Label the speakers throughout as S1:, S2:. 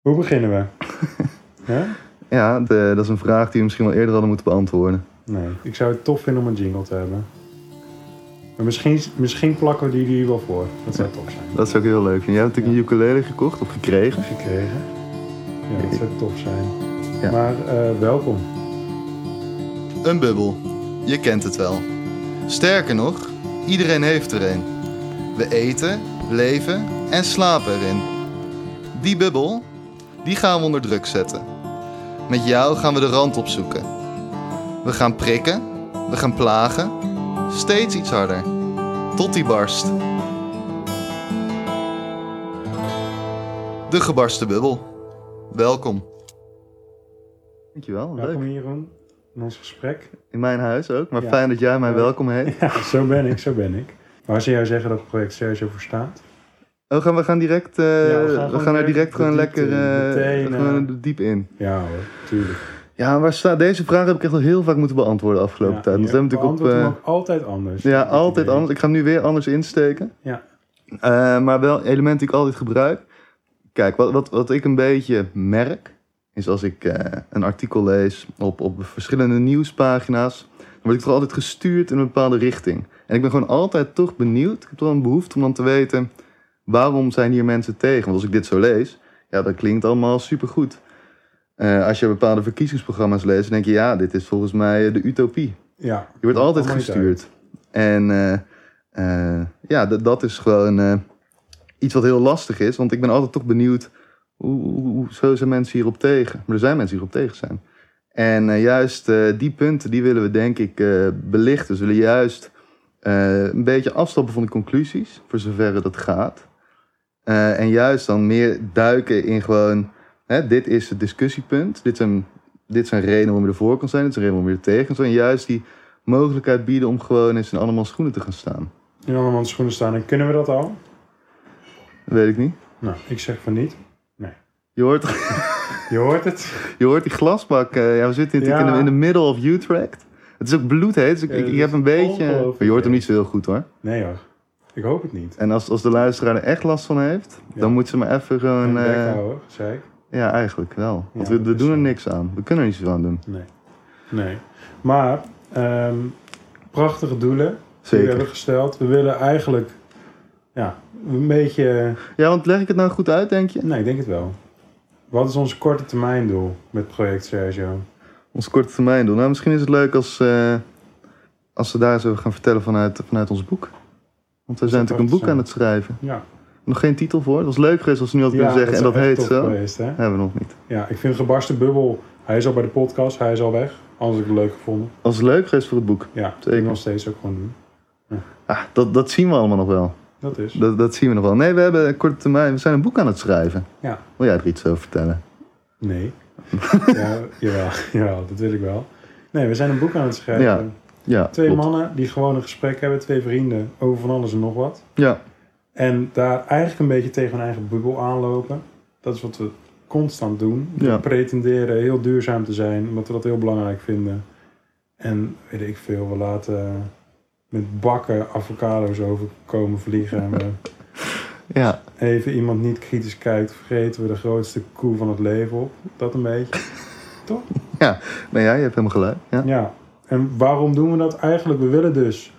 S1: Hoe beginnen we? ja?
S2: Ja, de- dat is een vraag die we misschien wel eerder hadden moeten beantwoorden.
S1: Nee. Ik zou het tof vinden om een jingle te hebben. Maar misschien, misschien plakken we die hier wel voor. Dat zou tof zijn.
S2: Dat zou ik heel leuk vinden. Jij hebt natuurlijk een ukulele gekocht of gekregen.
S1: Gekregen. Ja, dat zou tof zijn.
S2: Ja.
S1: Maar eh, welkom.
S2: Een bubbel. Je kent het wel. Sterker nog, iedereen heeft er een. We eten, leven en slapen erin. Die bubbel, die gaan we onder druk zetten. Met jou gaan we de rand opzoeken. We gaan prikken, we gaan plagen, steeds iets harder. Tot die barst. De gebarste bubbel. Welkom. Dankjewel,
S1: Welkom Jeroen. In ons gesprek.
S2: in mijn huis ook, maar
S1: Ja.
S2: fijn dat jij mij
S1: Ja.
S2: welkom heet.
S1: Ja, zo ben ik, zo ben ik. Waar zou jij zeggen dat het project Sergio voor staat?
S2: Oh, gaan, we gaan direct, eh,
S1: we gaan
S2: we gaan,
S1: gewoon direct
S2: er direct
S1: de
S2: gewoon
S1: diepte
S2: lekker
S1: in,
S2: eh,
S1: meteen, eh.
S2: gewoon er diep in.
S1: Ja hoor, tuurlijk.
S2: Ja, waar staat deze vraag? Heb ik echt al heel vaak moeten beantwoorden de afgelopen
S1: Ja,
S2: tijd. Want we
S1: je
S2: hebben natuurlijk op,
S1: beantwoordt hem
S2: eh,
S1: ook altijd anders.
S2: ja,
S1: dus Dat
S2: altijd
S1: idee.
S2: anders. Ik ga hem nu weer anders insteken.
S1: Ja.
S2: Eh, maar wel elementen die ik altijd gebruik. Kijk, wat, wat, wat ik een beetje merk, is als ik eh, een artikel lees op, op verschillende nieuwspagina's, dan word ik toch altijd gestuurd in een bepaalde richting. En ik ben gewoon altijd toch benieuwd. Ik heb toch wel een behoefte om dan te weten, waarom zijn hier mensen tegen? Want als ik dit zo lees, ja, dat klinkt allemaal supergoed. Eh, als je bepaalde verkiezingsprogramma's leest, dan denk je, ja, dit is volgens mij eh, de utopie.
S1: Ja.
S2: Je wordt altijd
S1: Allemaal niet
S2: gestuurd. En eh, eh, ja, d- dat is gewoon eh, iets wat heel lastig is. Want ik ben altijd toch benieuwd, hoe, hoe, hoe- zo zijn mensen hierop tegen? Maar er zijn mensen die hierop tegen zijn. En eh, juist eh, die punten, die willen we denk ik eh, belichten. Dus we willen juist eh, een beetje afstappen van de conclusies, voor zover dat gaat. Eh, en juist dan meer duiken in gewoon, hè, dit is het discussiepunt. Dit zijn, dit zijn redenen waarom je ervoor kan zijn, dit zijn redenen waarom je er tegen kan zijn. En juist die mogelijkheid bieden om gewoon eens in allemaal schoenen te gaan staan.
S1: In allemaal schoenen staan. En kunnen we dat al?
S2: Dat weet ik niet.
S1: Nou, ik zeg van niet.
S2: Je hoort,
S1: Je hoort het.
S2: je hoort die glasbak. eh, ja, we zitten natuurlijk
S1: Ja.
S2: in de in the middle of Utrecht. Het is ook bloedheet, dus ik,
S1: Ja,
S2: ik,
S1: dat
S2: ik heb
S1: is
S2: een beetje...
S1: ongelooflijk
S2: Maar je hoort hem niet zo heel goed hoor.
S1: Nee hoor. Ik hoop het niet.
S2: En als, als de luisteraar er echt last van heeft,
S1: Ja.
S2: dan moet ze maar even
S1: En
S2: gewoon...
S1: bek
S2: eh,
S1: houden, zei ik.
S2: ja, eigenlijk wel. Want
S1: Ja,
S2: we,
S1: dat
S2: we
S1: is
S2: doen er
S1: zo.
S2: niks aan. We kunnen er niets aan doen.
S1: Nee. Nee. Maar, ehm, prachtige doelen die we
S2: Zeker.
S1: hebben gesteld. We willen eigenlijk, ja, een beetje...
S2: Ja, want leg ik het nou goed uit, denk je?
S1: Nee, ik denk het wel. Wat is ons korte termijn doel met project Sergio?
S2: Ons korte termijn doen. Nou, misschien is het leuk als, eh, als we daar eens over gaan vertellen vanuit, vanuit ons boek. Want we zijn
S1: dat
S2: natuurlijk een
S1: ook
S2: boek aan
S1: zo?
S2: het schrijven.
S1: Ja.
S2: Nog geen titel voor. Dat was leuk geweest als we nu hadden
S1: ja,
S2: kunnen zeggen. en
S1: zou
S2: dat
S1: echt
S2: heet
S1: tof
S2: zo.
S1: Geweest, hè?
S2: Hebben we nog niet.
S1: Ja, ik vind gebarsten bubbel. Hij is al bij de podcast, hij is al weg. Anders heb ik het leuk gevonden.
S2: Dat was leuk geweest voor het boek.
S1: Ja, dat
S2: Zeker.
S1: wil ik nog steeds ook gewoon doen.
S2: Ah, dat, dat zien we allemaal nog wel.
S1: Dat is.
S2: Dat, dat zien we nog wel. Nee, we hebben een korte termijn. We zijn een boek aan het schrijven.
S1: Ja.
S2: Wil jij er iets over vertellen?
S1: Nee. ja, jawel, jawel, dat wil ik wel. Nee, we zijn een boek aan het schrijven.
S2: Ja, Ja.
S1: Twee
S2: klopt.
S1: mannen die gewoon een gesprek hebben, twee vrienden, over van alles en nog wat.
S2: Ja.
S1: En daar eigenlijk een beetje tegen hun eigen bubbel aanlopen. Dat is wat we constant doen. We
S2: Ja.
S1: pretenderen heel duurzaam te zijn, omdat we dat heel belangrijk vinden. En weet ik veel, we laten met bakken avocado's overkomen vliegen. En we
S2: Ja.
S1: even iemand niet kritisch kijkt, vergeten we de grootste koe van het leven op. Dat een beetje.
S2: Nou ja, je hebt helemaal gelijk. Ja.
S1: Ja, en waarom doen we dat eigenlijk? We willen dus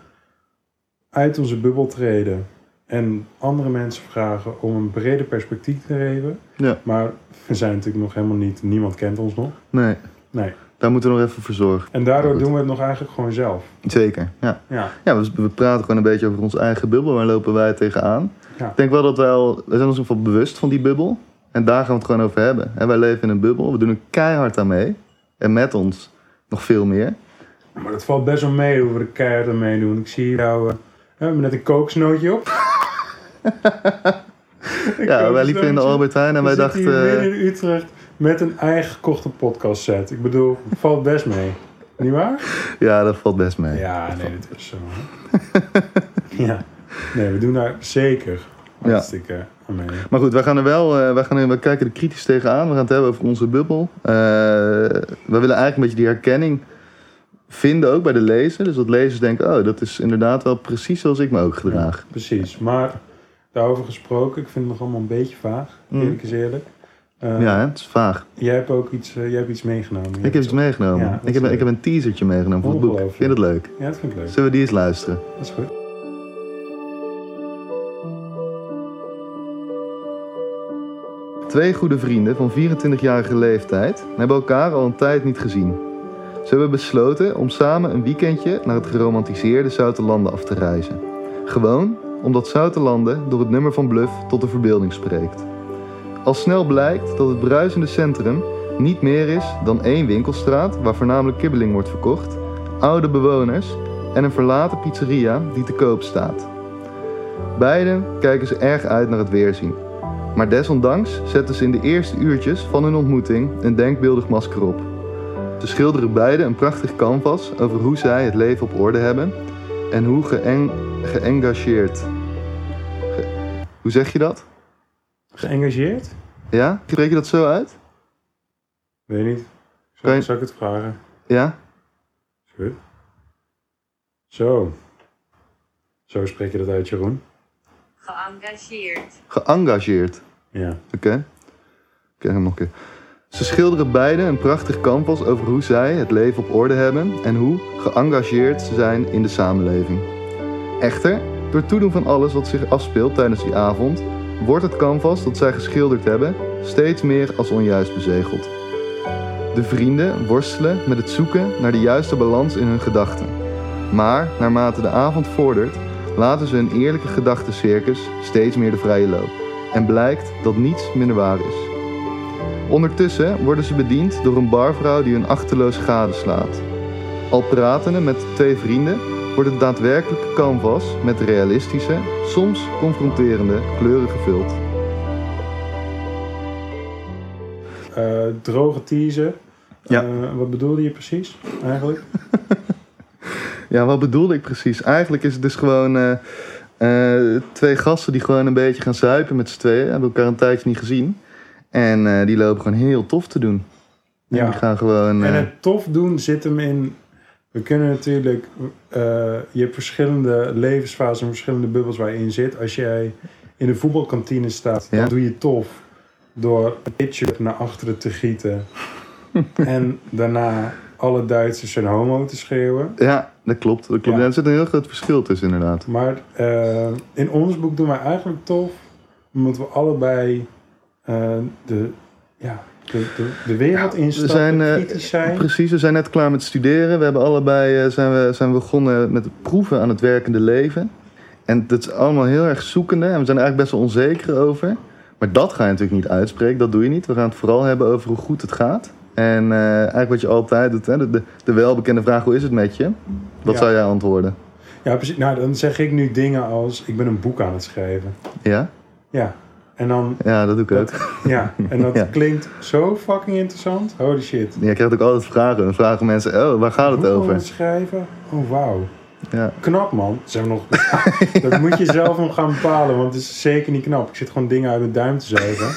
S1: uit onze bubbel treden en andere mensen vragen om een breder perspectief te geven.
S2: Ja.
S1: Maar we zijn natuurlijk nog helemaal niet, niemand kent ons nog.
S2: Nee.
S1: Nee.
S2: Daar moeten we nog even voor zorgen.
S1: En daardoor
S2: Goed.
S1: doen we het nog eigenlijk gewoon zelf.
S2: Zeker. Ja.
S1: Ja,
S2: Ja, we, we praten gewoon een beetje over onze eigen bubbel. Waar lopen wij tegenaan?
S1: Ja.
S2: Ik denk wel dat wij al... We zijn ons in ieder geval bewust van die bubbel. En daar gaan we het gewoon over hebben. En wij leven in een bubbel. We doen er keihard aan mee. En met ons nog veel meer.
S1: maar dat valt best wel mee hoe we er keihard aan meedoen. Ik zie jou, eh, we hebben net een kooksnootje op. Een
S2: Ja, wij liepen in de
S1: kooksnootje.
S2: Albert Heijn en
S1: We
S2: wij
S1: zitten
S2: dachten...
S1: hier
S2: eh,
S1: midden in Utrecht met een eigen gekochte podcast set. Ik bedoel, het valt best mee. Niet waar?
S2: Ja, dat valt best mee.
S1: Ja, nee, dat is zo. ja. Nee, we doen daar zeker
S2: Ja.
S1: hartstikke aan mee.
S2: Maar goed, wij gaan er wel, eh, wij gaan er, we kijken er kritisch tegenaan. We gaan het hebben over onze bubbel. Eh we willen eigenlijk een beetje die herkenning vinden ook bij de lezer. Dus dat lezers denken, oh, dat is inderdaad wel precies zoals ik me ook gedraag.
S1: Precies, maar daarover gesproken, ik vind het nog allemaal een beetje vaag.
S2: Mm.
S1: Eerlijk is eerlijk. Eh,
S2: ja, hè? het is vaag.
S1: Jij hebt ook iets, eh, jij hebt iets meegenomen.
S2: Ik heb iets meegenomen.
S1: Ja, dat
S2: ik, heb,
S1: is
S2: ik heb een teasertje meegenomen voor het boek. Vind
S1: Ongelooflijk.
S2: je dat leuk?
S1: Ja, dat vind ik leuk.
S2: Zullen we die eens luisteren?
S1: Dat is goed.
S2: Twee goede vrienden van 24-jarige leeftijd hebben elkaar al een tijd niet gezien. Ze hebben besloten om samen een weekendje naar het geromantiseerde Zoutelanden af te reizen. Gewoon omdat Zoutelanden door het nummer van Bluff tot de verbeelding spreekt. Al snel blijkt dat het bruisende centrum niet meer is dan één winkelstraat waar voornamelijk kibbeling wordt verkocht, oude bewoners en een verlaten pizzeria die te koop staat. Beiden kijken ze erg uit naar het weerzien. Maar desondanks zetten ze in de eerste uurtjes van hun ontmoeting een denkbeeldig masker op. Ze schilderen beiden een prachtig canvas over hoe zij het leven op orde hebben en hoe geëng- geëngageerd. ge- hoe zeg je dat?
S1: Geëngageerd?
S2: Ja? Spreek je dat zo uit?
S1: Weet niet.
S2: Kan
S1: Zou,
S2: je-
S1: zou ik het vragen?
S2: Ja?
S1: Is goed. Zo. Zo spreek je dat uit, Jeroen.
S3: Geëngageerd.
S2: Geëngageerd.
S1: Ja.
S2: Oké. Oké, hem nog een keer. Ze schilderen beiden een prachtig canvas over hoe zij het leven op orde hebben en hoe geëngageerd ze zijn in de samenleving. Echter, door toedoen van alles wat zich afspeelt tijdens die avond, wordt het canvas dat zij geschilderd hebben steeds meer als onjuist bezegeld. De vrienden worstelen met het zoeken naar de juiste balans in hun gedachten. Maar naarmate de avond vordert, laten ze hun eerlijke gedachtencircus steeds meer de vrije loop en blijkt dat niets minder waar is. Ondertussen worden ze bediend door een barvrouw die hun achterloos gadeslaat. Al pratende met twee vrienden wordt het daadwerkelijke canvas met realistische, soms confronterende kleuren gevuld.
S1: Eh, droge teaser.
S2: Ja.
S1: Eh, wat bedoelde je precies eigenlijk?
S2: Ja, wat bedoelde ik precies? Eigenlijk is het dus gewoon eh, eh, twee gasten die gewoon een beetje gaan zuipen met z'n tweeën. Hebben elkaar een tijdje niet gezien. En eh, die lopen gewoon heel tof te doen. En
S1: Ja.
S2: die gaan gewoon...
S1: En
S2: eh,
S1: het tof doen zit hem in. We kunnen natuurlijk. eh, je hebt verschillende levensfasen, verschillende bubbels waar je in zit. Als jij in de voetbalkantine staat,
S2: Ja.
S1: dan doe je tof door een pitcher naar achteren te gieten. en daarna alle Duitsers zijn homo te schreeuwen.
S2: Ja, dat klopt. Dat klopt.
S1: Ja.
S2: Ja, Er zit een heel groot verschil tussen, inderdaad.
S1: Maar eh, in ons boek doen wij eigenlijk tof, omdat we allebei eh, de, ja, de, de, de wereld instappen,
S2: zijn, eh,
S1: kritisch zijn.
S2: Precies, we zijn net klaar met studeren. We hebben allebei eh, zijn we, zijn we begonnen met proeven aan het werkende leven. En dat is allemaal heel erg zoekende. En we zijn er eigenlijk best wel onzeker over. Maar dat ga je natuurlijk niet uitspreken. Dat doe je niet. We gaan het vooral hebben over hoe goed het gaat. En eh, eigenlijk wat je altijd doet. Hè? De, de, de welbekende vraag, hoe is het met je? Wat
S1: Ja.
S2: zou jij antwoorden?
S1: Ja, precies. Nou, dan zeg ik nu dingen als: ik ben een boek aan het schrijven.
S2: Ja?
S1: Ja. En dan,
S2: Ja, dat doe ik ook.
S1: ja. En dat
S2: Ja.
S1: klinkt zo fucking interessant. Holy shit.
S2: Je krijgt ook altijd vragen. Dan vragen mensen, oh, waar gaat het
S1: Boek aan
S2: over?
S1: het schrijven? Oh, wauw.
S2: Ja.
S1: Knap, man. Zijn we nog... Dat moet je zelf nog gaan bepalen, want het is zeker niet knap. Ik zit gewoon dingen uit mijn duim te zuigen.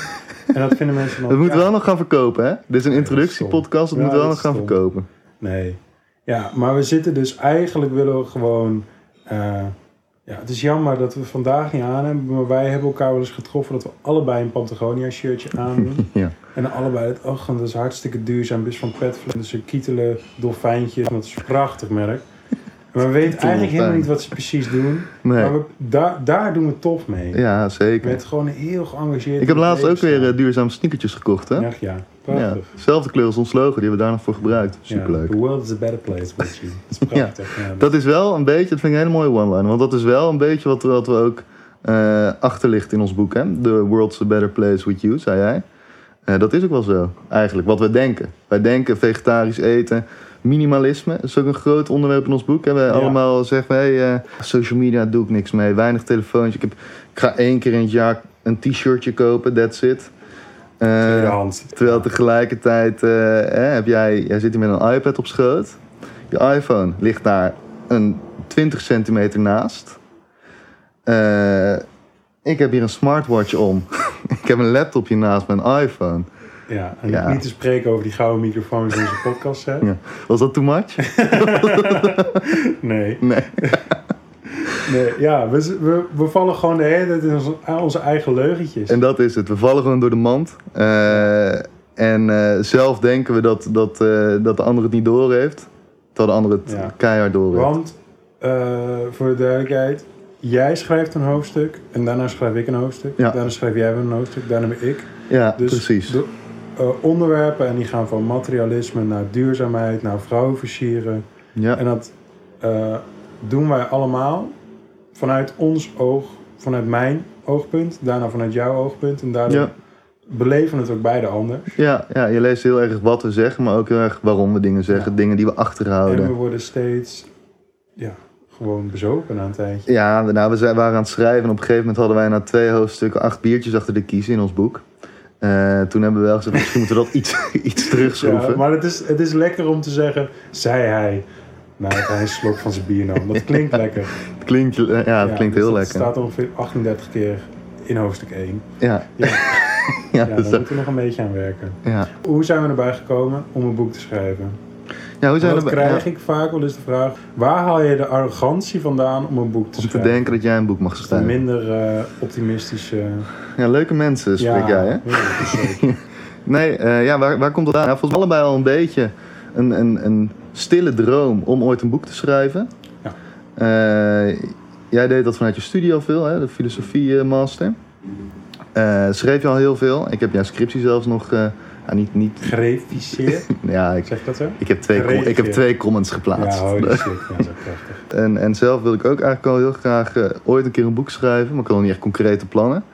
S1: En dat vinden mensen dan...
S2: We moeten
S1: ja.
S2: wel nog gaan verkopen, hè? Dit is een introductiepodcast, dat
S1: Ja,
S2: moeten we
S1: dat
S2: wel nog
S1: is
S2: gaan
S1: stom.
S2: verkopen.
S1: Nee. Ja, maar we zitten dus eigenlijk willen we gewoon. eh, ja, het is jammer dat we vandaag niet aan hebben, maar wij hebben elkaar wel eens getroffen dat we allebei een Patagonia shirtje aandoen.
S2: Ja.
S1: En allebei het, oh, dat is hartstikke duurzaam, dus van Petvlek, dus een kietelen, dolfijntje, dat is een prachtig merk. Maar we weten eigenlijk helemaal niet wat ze precies doen,
S2: Nee.
S1: maar we, daar, daar doen we tof mee.
S2: Ja,
S1: Ik
S2: zeker.
S1: werd gewoon heel geëngageerd.
S2: Ik heb laatst ook weer eh, duurzame sneakertjes gekocht, hè?
S1: Echt ja, prachtig.
S2: Dezelfde kleur als ons logo, die hebben we daar nog voor gebruikt.
S1: Ja,
S2: Superleuk.
S1: the world is a better place with you. Dat is prachtig. ja.
S2: Dat is wel een beetje, dat vind ik een hele mooie one-line, want dat is wel een beetje wat, wat we ook eh achter ligt in ons boek, hè? The world's a better place with you, zei jij. Eh, dat is ook wel zo, eigenlijk, wat we denken. Wij denken vegetarisch eten, minimalisme, dat is ook een groot onderwerp in ons boek. Hè? Wij
S1: Ja.
S2: allemaal zeggen, van, hey, eh, social media doe ik niks mee, weinig telefoontje. Ik, heb, ik ga één keer in het jaar een t-shirtje kopen, that's it. Eh,
S1: Tweedehands.
S2: Terwijl tegelijkertijd eh, hè, heb jij, jij zit hier met een iPad op schoot. Je iPhone ligt daar een 20 centimeter naast. Eh, ik heb hier een smartwatch om. ik heb een laptopje naast mijn iPhone.
S1: Ja, en
S2: Ja.
S1: niet te spreken over die gouden microfoons in onze podcast set.
S2: Ja. Was dat too much?
S1: Nee.
S2: Nee.
S1: Nee, ja, we, we, we vallen gewoon de hele tijd in onze, aan onze eigen leugentjes.
S2: En dat is het. We vallen gewoon door de mand. Eh, en eh, zelf denken we dat, dat, eh, dat de ander het niet door heeft. Terwijl de ander het
S1: Ja.
S2: keihard door heeft.
S1: Want, eh, voor de duidelijkheid, jij schrijft een hoofdstuk en daarna schrijf ik een hoofdstuk.
S2: Ja.
S1: Daarna schrijf jij weer een hoofdstuk, daarna weer ik.
S2: Ja,
S1: Dus
S2: precies.
S1: De eh, onderwerpen, en die gaan van materialisme naar duurzaamheid, naar vrouwen versieren.
S2: ja.
S1: En dat eh, doen wij allemaal vanuit ons oog, vanuit mijn oogpunt, daarna vanuit jouw oogpunt. En daardoor
S2: Ja.
S1: beleven we het ook beide anders.
S2: Ja, ja, je leest heel erg wat we zeggen, maar ook heel erg waarom we dingen zeggen. Dingen die we
S1: En we
S2: achterhouden.
S1: worden steeds ja, gewoon bezopen na een tijdje.
S2: Ja, we- nou, we zijn, waren aan het schrijven en op een gegeven moment hadden wij na twee hoofdstukken acht biertjes achter de kiezen in ons boek. Eh, toen hebben we wel gezegd, misschien moeten we dat iets, iets terugschroeven.
S1: Ja, maar het is, het is lekker om te zeggen, zei hij, nadat hij een slok van zijn bier nam. Dat klinkt lekker.
S2: Het klinkt, eh, ja, het
S1: Ja,
S2: klinkt
S1: dus
S2: heel
S1: dat
S2: lekker.
S1: staat ongeveer 38 keer in hoofdstuk 1.
S2: Ja.
S1: Ja.
S2: ja,
S1: Ja, daar
S2: dus dat-
S1: moeten we nog een beetje aan werken.
S2: ja.
S1: Hoe zijn we erbij gekomen om een boek te schrijven?
S2: Ja, hoe zijn
S1: dat
S2: we erbij-
S1: krijg
S2: ja,
S1: ik vaak wel eens de vraag, waar haal je de arrogantie vandaan om een boek te
S2: om te
S1: schrijven?
S2: denken dat jij een boek mag
S1: De
S2: schrijven.
S1: minder eh, optimistische...
S2: Ja, leuke mensen spreek jij, hè? Nee, eh, ja, waar, waar komt dat aan? Nou, volgens mij allebei al een beetje een, een, een stille droom om ooit een boek te schrijven.
S1: Ja.
S2: Eh, jij deed dat vanuit je studie al veel, hè? de filosofie-master. Eh, schreef je al heel veel. Ik heb jouw scriptie zelfs nog... eh, nou, niet, niet,
S1: Gereficeerd,
S2: ja, ik,
S1: zeg ik dat zo?
S2: ik, heb twee, com- ik heb twee comments geplaatst.
S1: Ja, holy shit, ja, dat is ook prachtig.
S2: En, en zelf wil ik ook eigenlijk al heel graag eh, ooit een keer een boek schrijven, maar ik had nog niet echt concrete plannen.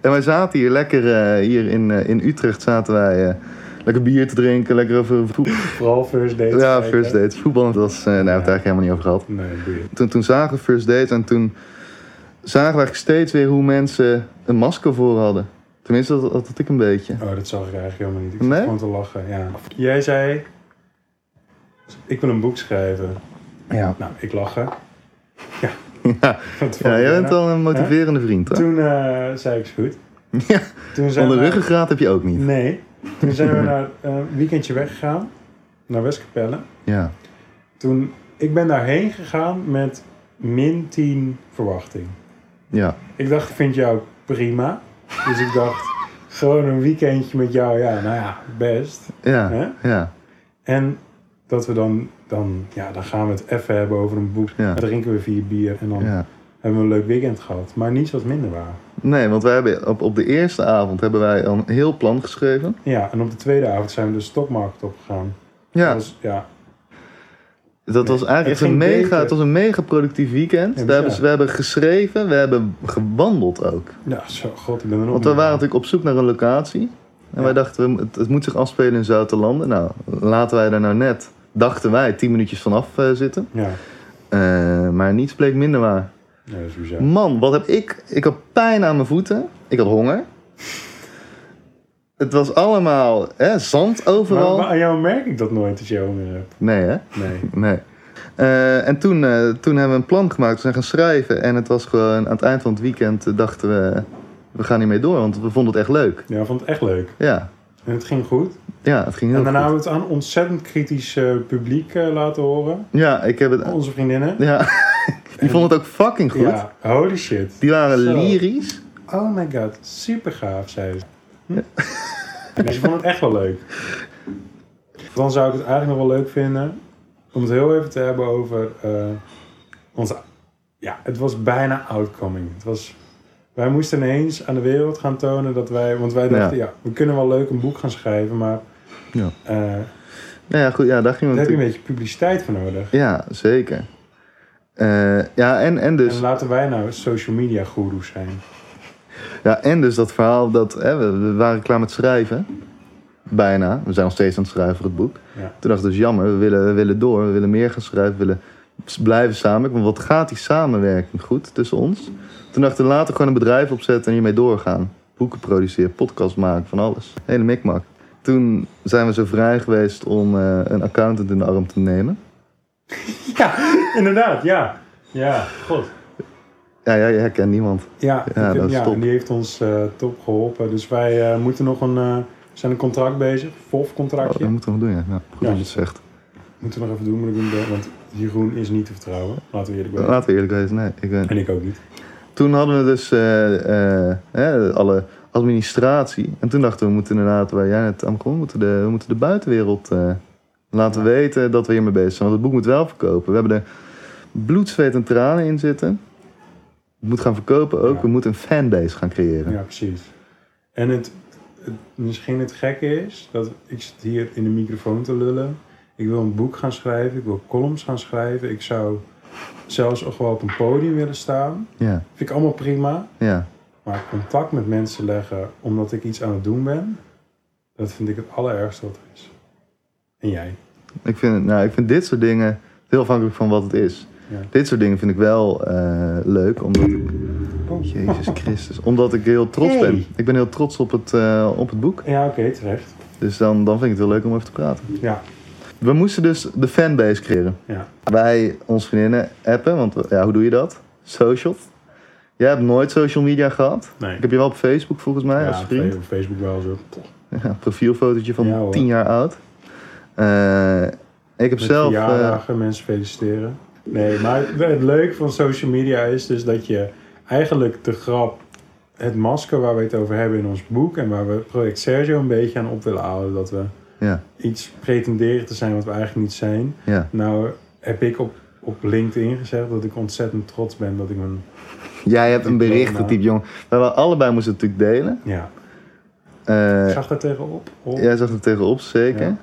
S2: En wij zaten hier lekker, eh, hier in, eh, in Utrecht zaten wij eh, lekker bier te drinken, lekker over voetbal.
S1: Vooral first dates.
S2: Ja,
S1: kijken.
S2: first dates. Voetbal, dat was, eh, daar hebben we het eigenlijk helemaal niet over gehad.
S1: Nee, boeiend.
S2: Toen, toen zagen we first dates en toen zagen we eigenlijk steeds weer hoe mensen een masker voor hadden. Tenminste, dat, dat had ik een beetje.
S1: Oh, dat zag ik eigenlijk helemaal niet. Ik zat
S2: Nee?
S1: gewoon te lachen, ja. Jij zei, ik wil een boek schrijven.
S2: Ja.
S1: Nou, ik lachen. Ja.
S2: Ja.
S1: Dat vond
S2: Ja,
S1: ik
S2: jij
S1: wel.
S2: bent al een motiverende vriend, hoor.
S1: Toen eh, zei ik is goed.
S2: Ja,
S1: Toen zijn
S2: onder
S1: we-
S2: ruggengraat heb je ook niet.
S1: Nee. Toen zijn we naar eh, een weekendje weggegaan. Naar Westkapelle.
S2: Ja.
S1: Toen, ik ben daarheen gegaan met min 10 verwachting.
S2: Ja.
S1: Ik dacht, ik vind jou prima. Dus ik dacht, gewoon een weekendje met jou. Ja, nou ja, best.
S2: Ja.
S1: Hè?
S2: Ja.
S1: En dat we dan, dan, ja, dan gaan we het even hebben over een boek.
S2: Ja.
S1: Dan drinken we vier bier en dan
S2: ja.
S1: hebben we een leuk weekend gehad. Maar niets wat minder waar.
S2: Nee, want wij hebben op, op de eerste avond hebben wij al een heel plan geschreven.
S1: Ja, en op de tweede avond zijn we de stokmarkt opgegaan.
S2: Ja,
S1: Dat was, ja,
S2: dat was
S1: het
S2: eigenlijk echt een
S1: ging
S2: mega,
S1: beter.
S2: het was een mega productief weekend.
S1: Ja,
S2: we, hebben,
S1: bizar.
S2: we hebben geschreven, we hebben gewandeld ook.
S1: ja, zo, god, ik ben er nog
S2: Want we
S1: niet aan.
S2: waren natuurlijk op zoek naar een locatie. En
S1: Ja.
S2: wij dachten, we mo- het, het moet zich afspelen in Zoutenlanden. Nou, laten wij daar nou net, dachten wij, tien minuutjes vanaf eh, zitten.
S1: Ja,
S2: Eh, maar niets bleek minder waar.
S1: ja, dat is bizar.
S2: Man, wat heb ik... Ik had pijn aan mijn voeten. Ik had honger. Het was allemaal hè, zand
S1: Maar,
S2: overal.
S1: maar aan jou merk ik dat nooit dat je honger hebt.
S2: Nee, hè?
S1: Nee.
S2: Nee. Eh, en toen, eh, toen hebben we een plan gemaakt. We zijn gaan schrijven. En het was gewoon aan het eind van het weekend eh, dachten we... We gaan hiermee door, want we vonden het echt leuk.
S1: Ja, ik vond het echt leuk.
S2: Ja,
S1: En het ging goed.
S2: ja het ging heel
S1: en daarna
S2: goed.
S1: hebben we het aan ontzettend kritisch eh, publiek eh, laten horen.
S2: Ja, ik heb het...
S1: Onze vriendinnen.
S2: Ja, die vonden het ook fucking goed.
S1: Ja, holy shit.
S2: Die waren
S1: Zo.
S2: lyrisch.
S1: Oh my god, super gaaf, zei ze. Hm? Nee, ze vond het echt wel leuk. Dan zou ik het eigenlijk nog wel leuk vinden om het heel even te hebben over eh, onze. Ja, het was bijna outcoming. Het was, wij moesten ineens aan de wereld gaan tonen dat wij. Want wij dachten, ja, we kunnen wel leuk een boek gaan schrijven, maar.
S2: Ja.
S1: eh,
S2: Nou ja, goed, ja,
S1: daar
S2: daar gingen we
S1: heb je een
S2: natuurlijk...
S1: beetje publiciteit voor nodig.
S2: Ja, zeker. Eh, ja, en, en dus...
S1: En laten wij nou social media goeroes zijn.
S2: Ja, en dus dat verhaal dat hè, we, we waren klaar met schrijven. Bijna. We zijn nog steeds aan het schrijven voor het boek.
S1: Ja.
S2: Toen dacht ik dus jammer, we willen, we willen door, we willen meer gaan schrijven, we willen s- blijven samen. Want wat gaat die samenwerking goed tussen ons? Toen dachten we later gewoon een bedrijf opzetten en hiermee doorgaan. Boeken produceren, podcast maken, van alles. Hele mikmak. Toen zijn we zo vrij geweest om eh, een accountant in de arm te nemen.
S1: Ja, inderdaad, ja. Ja, god.
S2: Ja, jij herkent niemand.
S1: Ja,
S2: Ja,
S1: ik-
S2: dat is
S1: ja,
S2: top.
S1: en die heeft ons eh, top geholpen. Dus wij eh, moeten nog een, eh, we zijn een contract bezig,
S2: Oh,
S1: VOF-contractje.
S2: dat moeten we nog doen, ja. Nou, goed
S1: Ja.
S2: dat je het zegt.
S1: Moeten we nog even doen, moet ik doen, want Jeroen is niet te vertrouwen. Laten we eerlijk zijn.
S2: Laten we eerlijk wezen, nee. Ik ben...
S1: En ik ook niet.
S2: Toen hadden we dus eh, eh, hè, alle administratie. En toen dachten we, we moeten inderdaad, waar jij net aan begon, we moeten de, we moeten de buitenwereld eh, laten weten dat we hiermee bezig zijn. Want het boek moet wel verkopen. We hebben er bloed, zweet en tranen in zitten. Het moet gaan verkopen ook.
S1: Ja.
S2: We moeten een fanbase gaan creëren.
S1: Ja, precies. En het, het- misschien het gekke is dat ik zit hier in de microfoon te lullen. Ik wil een boek gaan schrijven, ik wil columns gaan schrijven. Ik zou zelfs ook wel op een podium willen staan.
S2: Ja,
S1: Vind ik allemaal prima.
S2: ja.
S1: Maar contact met mensen leggen omdat ik iets aan het doen ben, dat vind ik het allerergste wat er is. En jij?
S2: Ik, vind, nou, ik vind dit soort dingen heel afhankelijk van wat het is.
S1: Ja.
S2: Dit soort dingen vind ik wel eh, leuk, omdat ik... Jezus Christus. Omdat ik heel trots
S1: Hey.
S2: ben. Ik ben heel trots op het, eh, op het boek.
S1: Ja, oké, terecht.
S2: Dus dan, dan vind ik het heel leuk om over te praten.
S1: Ja,
S2: We moesten dus de fanbase creëren.
S1: ja.
S2: Wij, onze vriendinnen, appen. Want ja, hoe doe je dat? Social. Jij hebt nooit social media gehad.
S1: Nee.
S2: Ik heb je wel op Facebook volgens mij Nou als
S1: ja,
S2: vriend.
S1: op Facebook wel zo.
S2: Ja, profielfotootje van
S1: Ja, hoor.
S2: 10 jaar oud. Eh, ik heb
S1: Met
S2: zelf... eh,
S1: verjaardagen, mensen feliciteren. Nee, maar het, het leuke van social media is dus dat je eigenlijk de grap, het masker waar we het over hebben in ons boek en waar we Project Sergio een beetje aan op willen houden, dat we
S2: eh, ja,
S1: iets pretenderen te zijn wat we eigenlijk niet zijn.
S2: ja.
S1: Nou heb ik op, op LinkedIn gezegd dat ik ontzettend trots ben dat ik een...
S2: Jij hebt een bericht getypt, jongen. Maar we allebei moesten het natuurlijk delen.
S1: Ja,
S2: Eh,
S1: zag daar tegenop. Op.
S2: Jij zag er tegenop, zeker.
S1: Ja.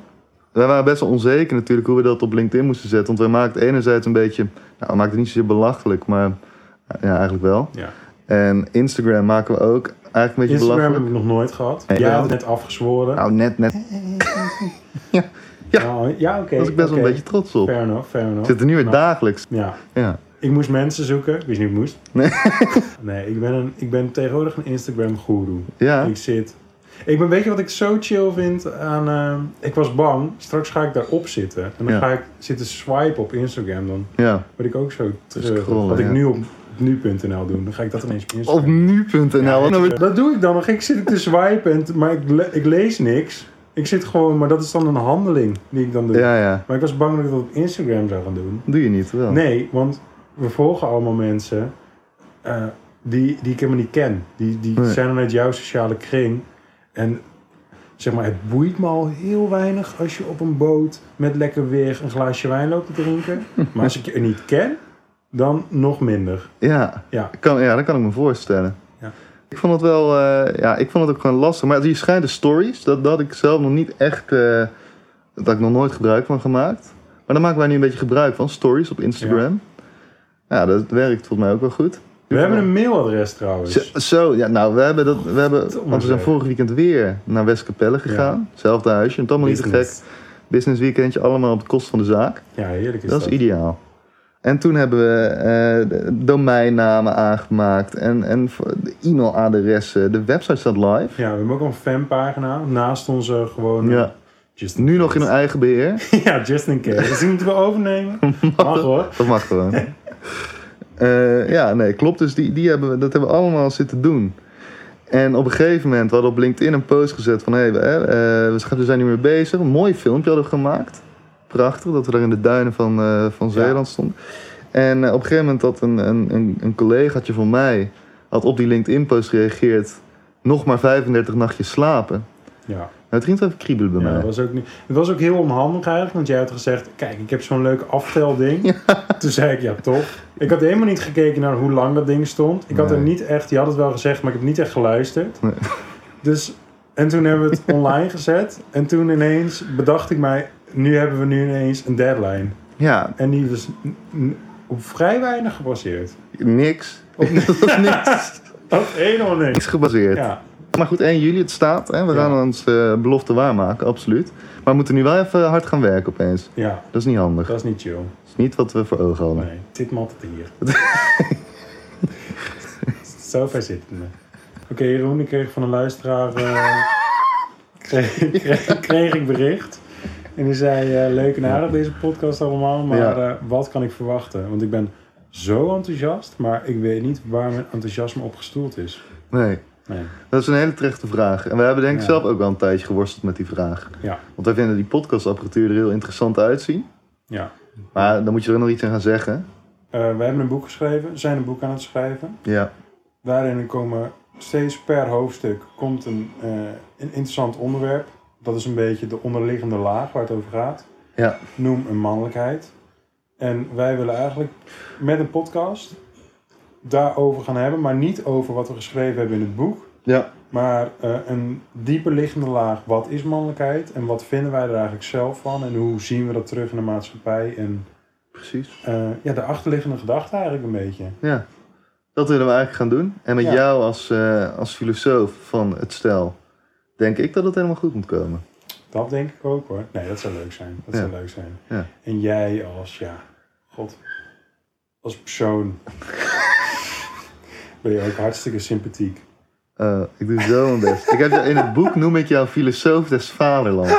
S2: Wij waren best wel onzeker natuurlijk hoe we dat op LinkedIn moesten zetten. Want wij maakten enerzijds een beetje... Nou, we maakten het niet zozeer belachelijk, maar... eh, Ja, eigenlijk wel.
S1: Ja.
S2: En Instagram maken we ook eigenlijk een beetje
S1: Instagram heb
S2: belachelijk.
S1: ik nog nooit gehad.
S2: Nee,
S1: Jij
S2: ja.
S1: had net afgezworen.
S2: Nou, net, net. ja.
S1: Nou, ja, oké.
S2: Daar was ik best wel
S1: oké.
S2: een beetje trots op.
S1: Fair enough, fair
S2: Ik
S1: enough.
S2: zit er nu weer
S1: Maar-
S2: dagelijks.
S1: Ja,
S2: Ja.
S1: Ik moest mensen zoeken. Ik wist niet hoe ik moest.
S2: Nee.
S1: nee, ik ben, een, ik ben tegenwoordig een instagram guru.
S2: Ja.
S1: Ik zit... Ik ben, weet je wat ik zo chill vind aan... eh, ik was bang, straks ga ik daarop zitten. En dan
S2: Ja.
S1: ga ik zitten swipen op Instagram. Dan
S2: ja.
S1: word ik ook zo terug.
S2: Scrollen,
S1: wat ik
S2: ja.
S1: nu op nu.nl doe. Dan ga ik dat ineens op Instagram.
S2: Op nu.nl.
S1: Ja,
S2: wat nou weer-
S1: dat doe ik dan. Dan ga ik zit ik te swipen, en t- maar ik, le- ik lees niks. Ik zit gewoon... Maar dat is dan een handeling die ik dan doe.
S2: ja, ja.
S1: Maar ik was bang dat ik dat op Instagram zou gaan doen.
S2: Doe je niet, wel.
S1: Nee, want we volgen allemaal mensen eh, die, die ik helemaal niet ken. Die, die
S2: Nee.
S1: zijn dan uit jouw sociale kring. En zeg maar, het boeit me al heel weinig als je op een boot met lekker weer een glaasje wijn loopt te drinken. maar als ik je niet ken, dan nog minder.
S2: Ja.
S1: Ja.
S2: Kan, ja, dat kan ik me voorstellen.
S1: Ja.
S2: Ik vond het wel, eh, ja, ik vond het ook gewoon lastig. Maar die schijnen stories, dat, dat ik zelf nog niet echt, eh, dat ik nog nooit gebruik van gemaakt. Maar daar maken wij nu een beetje gebruik van, stories op Instagram. Ja, dat werkt volgens mij ook wel goed.
S1: We hebben een mailadres trouwens.
S2: Zo, zo, ja, nou, we hebben dat, we hebben, want we zijn
S1: zeg.
S2: vorig weekend weer naar Westkapelle gegaan. Zelfde huisje, het allemaal niet te
S1: Business.
S2: gek. Business weekendje, allemaal op de kosten van de zaak.
S1: Ja, heerlijk is
S2: Dat
S1: dat.
S2: is ideaal. En toen hebben we eh, de domeinnamen aangemaakt en, en voor- de e-mailadressen. De website staat live.
S1: Ja, we hebben ook een fanpagina naast onze gewoon...
S2: Ja.
S1: Just
S2: Nu nog in
S1: case.
S2: hun eigen beheer.
S1: Ja, just in case. Dus die moeten we overnemen. Mag hoor.
S2: Dat mag gewoon. Eh, ja, nee, klopt. Dus die, die hebben we, dat hebben we allemaal zitten doen. En op een gegeven moment we hadden we op LinkedIn een post gezet van... Hey, we, eh, eh, we zijn- we zijn niet meer bezig. Een mooi filmpje hadden we gemaakt. Prachtig, dat we daar in de duinen van, eh, van Zeeland stonden. En eh, op een gegeven moment had een, een, een, een collegaatje van mij... had op die LinkedIn-post gereageerd... nog maar 35 nachtjes slapen.
S1: Ja.
S2: Nou, het ging toch even kriebelen bij
S1: Ja,
S2: mij.
S1: dat was ook niet, het was ook heel onhandig eigenlijk, want jij had gezegd: Kijk, ik heb zo'n leuk aftelding. Toen zei ik: Ja, toch. Ik had helemaal niet gekeken naar hoe lang dat ding stond. Ik had
S2: Nee.
S1: er niet echt, je had het wel gezegd, maar ik heb niet echt geluisterd.
S2: Nee.
S1: Dus, en toen hebben we het online gezet. En toen ineens bedacht ik mij: Nu hebben we nu ineens een deadline.
S2: Ja,
S1: En die was n- n- op vrij weinig gebaseerd.
S2: niks. dat was niks,
S1: Op helemaal niks.
S2: niks gebaseerd.
S1: Ja,
S2: Maar goed, 1 juli, het staat. Hè? We
S1: Ja.
S2: gaan ons eh, belofte waarmaken, absoluut. Maar we moeten nu wel even hard gaan werken opeens.
S1: ja,
S2: Dat is niet handig.
S1: dat is niet chill.
S2: Dat is niet wat we voor ogen hadden.
S1: Nee, het zit me altijd hier. Zo ver zit het me. Oké, Jeroen, ik kreeg van een luisteraar... eh, kreeg, kreeg- kreeg ik bericht. En die zei, eh, leuk en aardig deze podcast allemaal, maar
S2: Ja.
S1: eh, wat kan ik verwachten? Want ik ben zo enthousiast, maar ik weet niet waar mijn enthousiasme op gestoeld is.
S2: Nee.
S1: Nee,
S2: Dat is een hele terechte vraag. En wij hebben denk ik
S1: Ja.
S2: zelf ook wel een tijdje geworsteld met die vraag.
S1: ja,
S2: Want wij vinden die podcastapparatuur er heel interessant uitzien.
S1: ja.
S2: Maar dan moet je er ook nog iets in gaan zeggen.
S1: Eh, we hebben een boek geschreven, zijn een boek aan het schrijven.
S2: Ja.
S1: Daarin komen steeds per hoofdstuk komt een, eh, een interessant onderwerp. Dat is een beetje de onderliggende laag waar het over gaat.
S2: Ja.
S1: Noem een mannelijkheid. En wij willen eigenlijk met een podcast daarover gaan hebben, maar niet over wat we geschreven hebben in het boek.
S2: Ja.
S1: Maar eh, een dieper liggende laag, wat is mannelijkheid en wat vinden wij er eigenlijk zelf van en hoe zien we dat terug in de maatschappij en
S2: Precies.
S1: eh, ja, de achterliggende gedachte eigenlijk een beetje.
S2: Ja. Dat willen we eigenlijk gaan doen. En met
S1: Ja.
S2: jou als, eh, als filosoof van het stel, denk ik dat het helemaal goed moet komen.
S1: Dat denk ik ook hoor. Nee, dat zou leuk zijn. Dat
S2: Ja.
S1: zou leuk zijn.
S2: Ja.
S1: En jij als, ja, god, als persoon ben je ook hartstikke sympathiek.
S2: Eh, ik doe zo mijn best. Ik heb, jou- in het boek noem ik jou filosoof des vaderlands.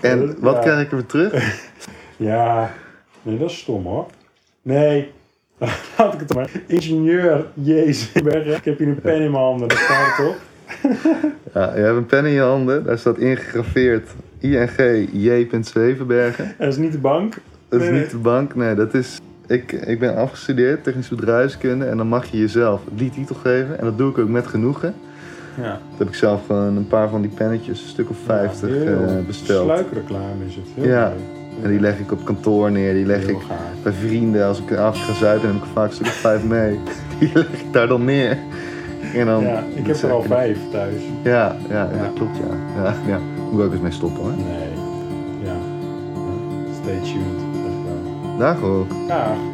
S2: En wat
S1: Ja.
S2: krijg ik ervoor terug?
S1: Ja, nee, dat is stom hoor. Nee, laat ik het maar. Ingenieur Jezus Berger. Ik heb hier een pen in mijn handen, dat staat op.
S2: Ja, je hebt een pen in je handen. Daar staat ingegraveerd ING J. Zevenbergen.
S1: En dat is niet de bank.
S2: Dat is
S1: Nee,
S2: niet de bank. Nee, dat is... Ik, ik ben afgestudeerd, technisch bedrijfskunde. En dan mag je jezelf die titel geven. En dat doe ik ook met genoegen.
S1: Ja,
S2: Dat heb ik zelf gewoon een paar van die pennetjes, een stuk of 50
S1: heel
S2: eh, besteld.
S1: Sluikreclame is het. Heel
S2: Ja.
S1: leuk.
S2: En die leg ik op kantoor neer. Die leg
S1: Heel
S2: ik
S1: gaaf.
S2: bij vrienden. Als ik een avond ga zuipen, heb ik er vaak een stuk of vijf mee. Die leg ik daar dan neer. En dan,
S1: Ja, ik heb er al vijf thuis.
S2: Ja, ja,
S1: Ja.
S2: dat klopt, ja. ja, ja. Moet ik ook eens mee stoppen, hoor.
S1: Nee, ja. Stay tuned. Ah. echt wel.
S2: Dag, hoor.
S1: Graag.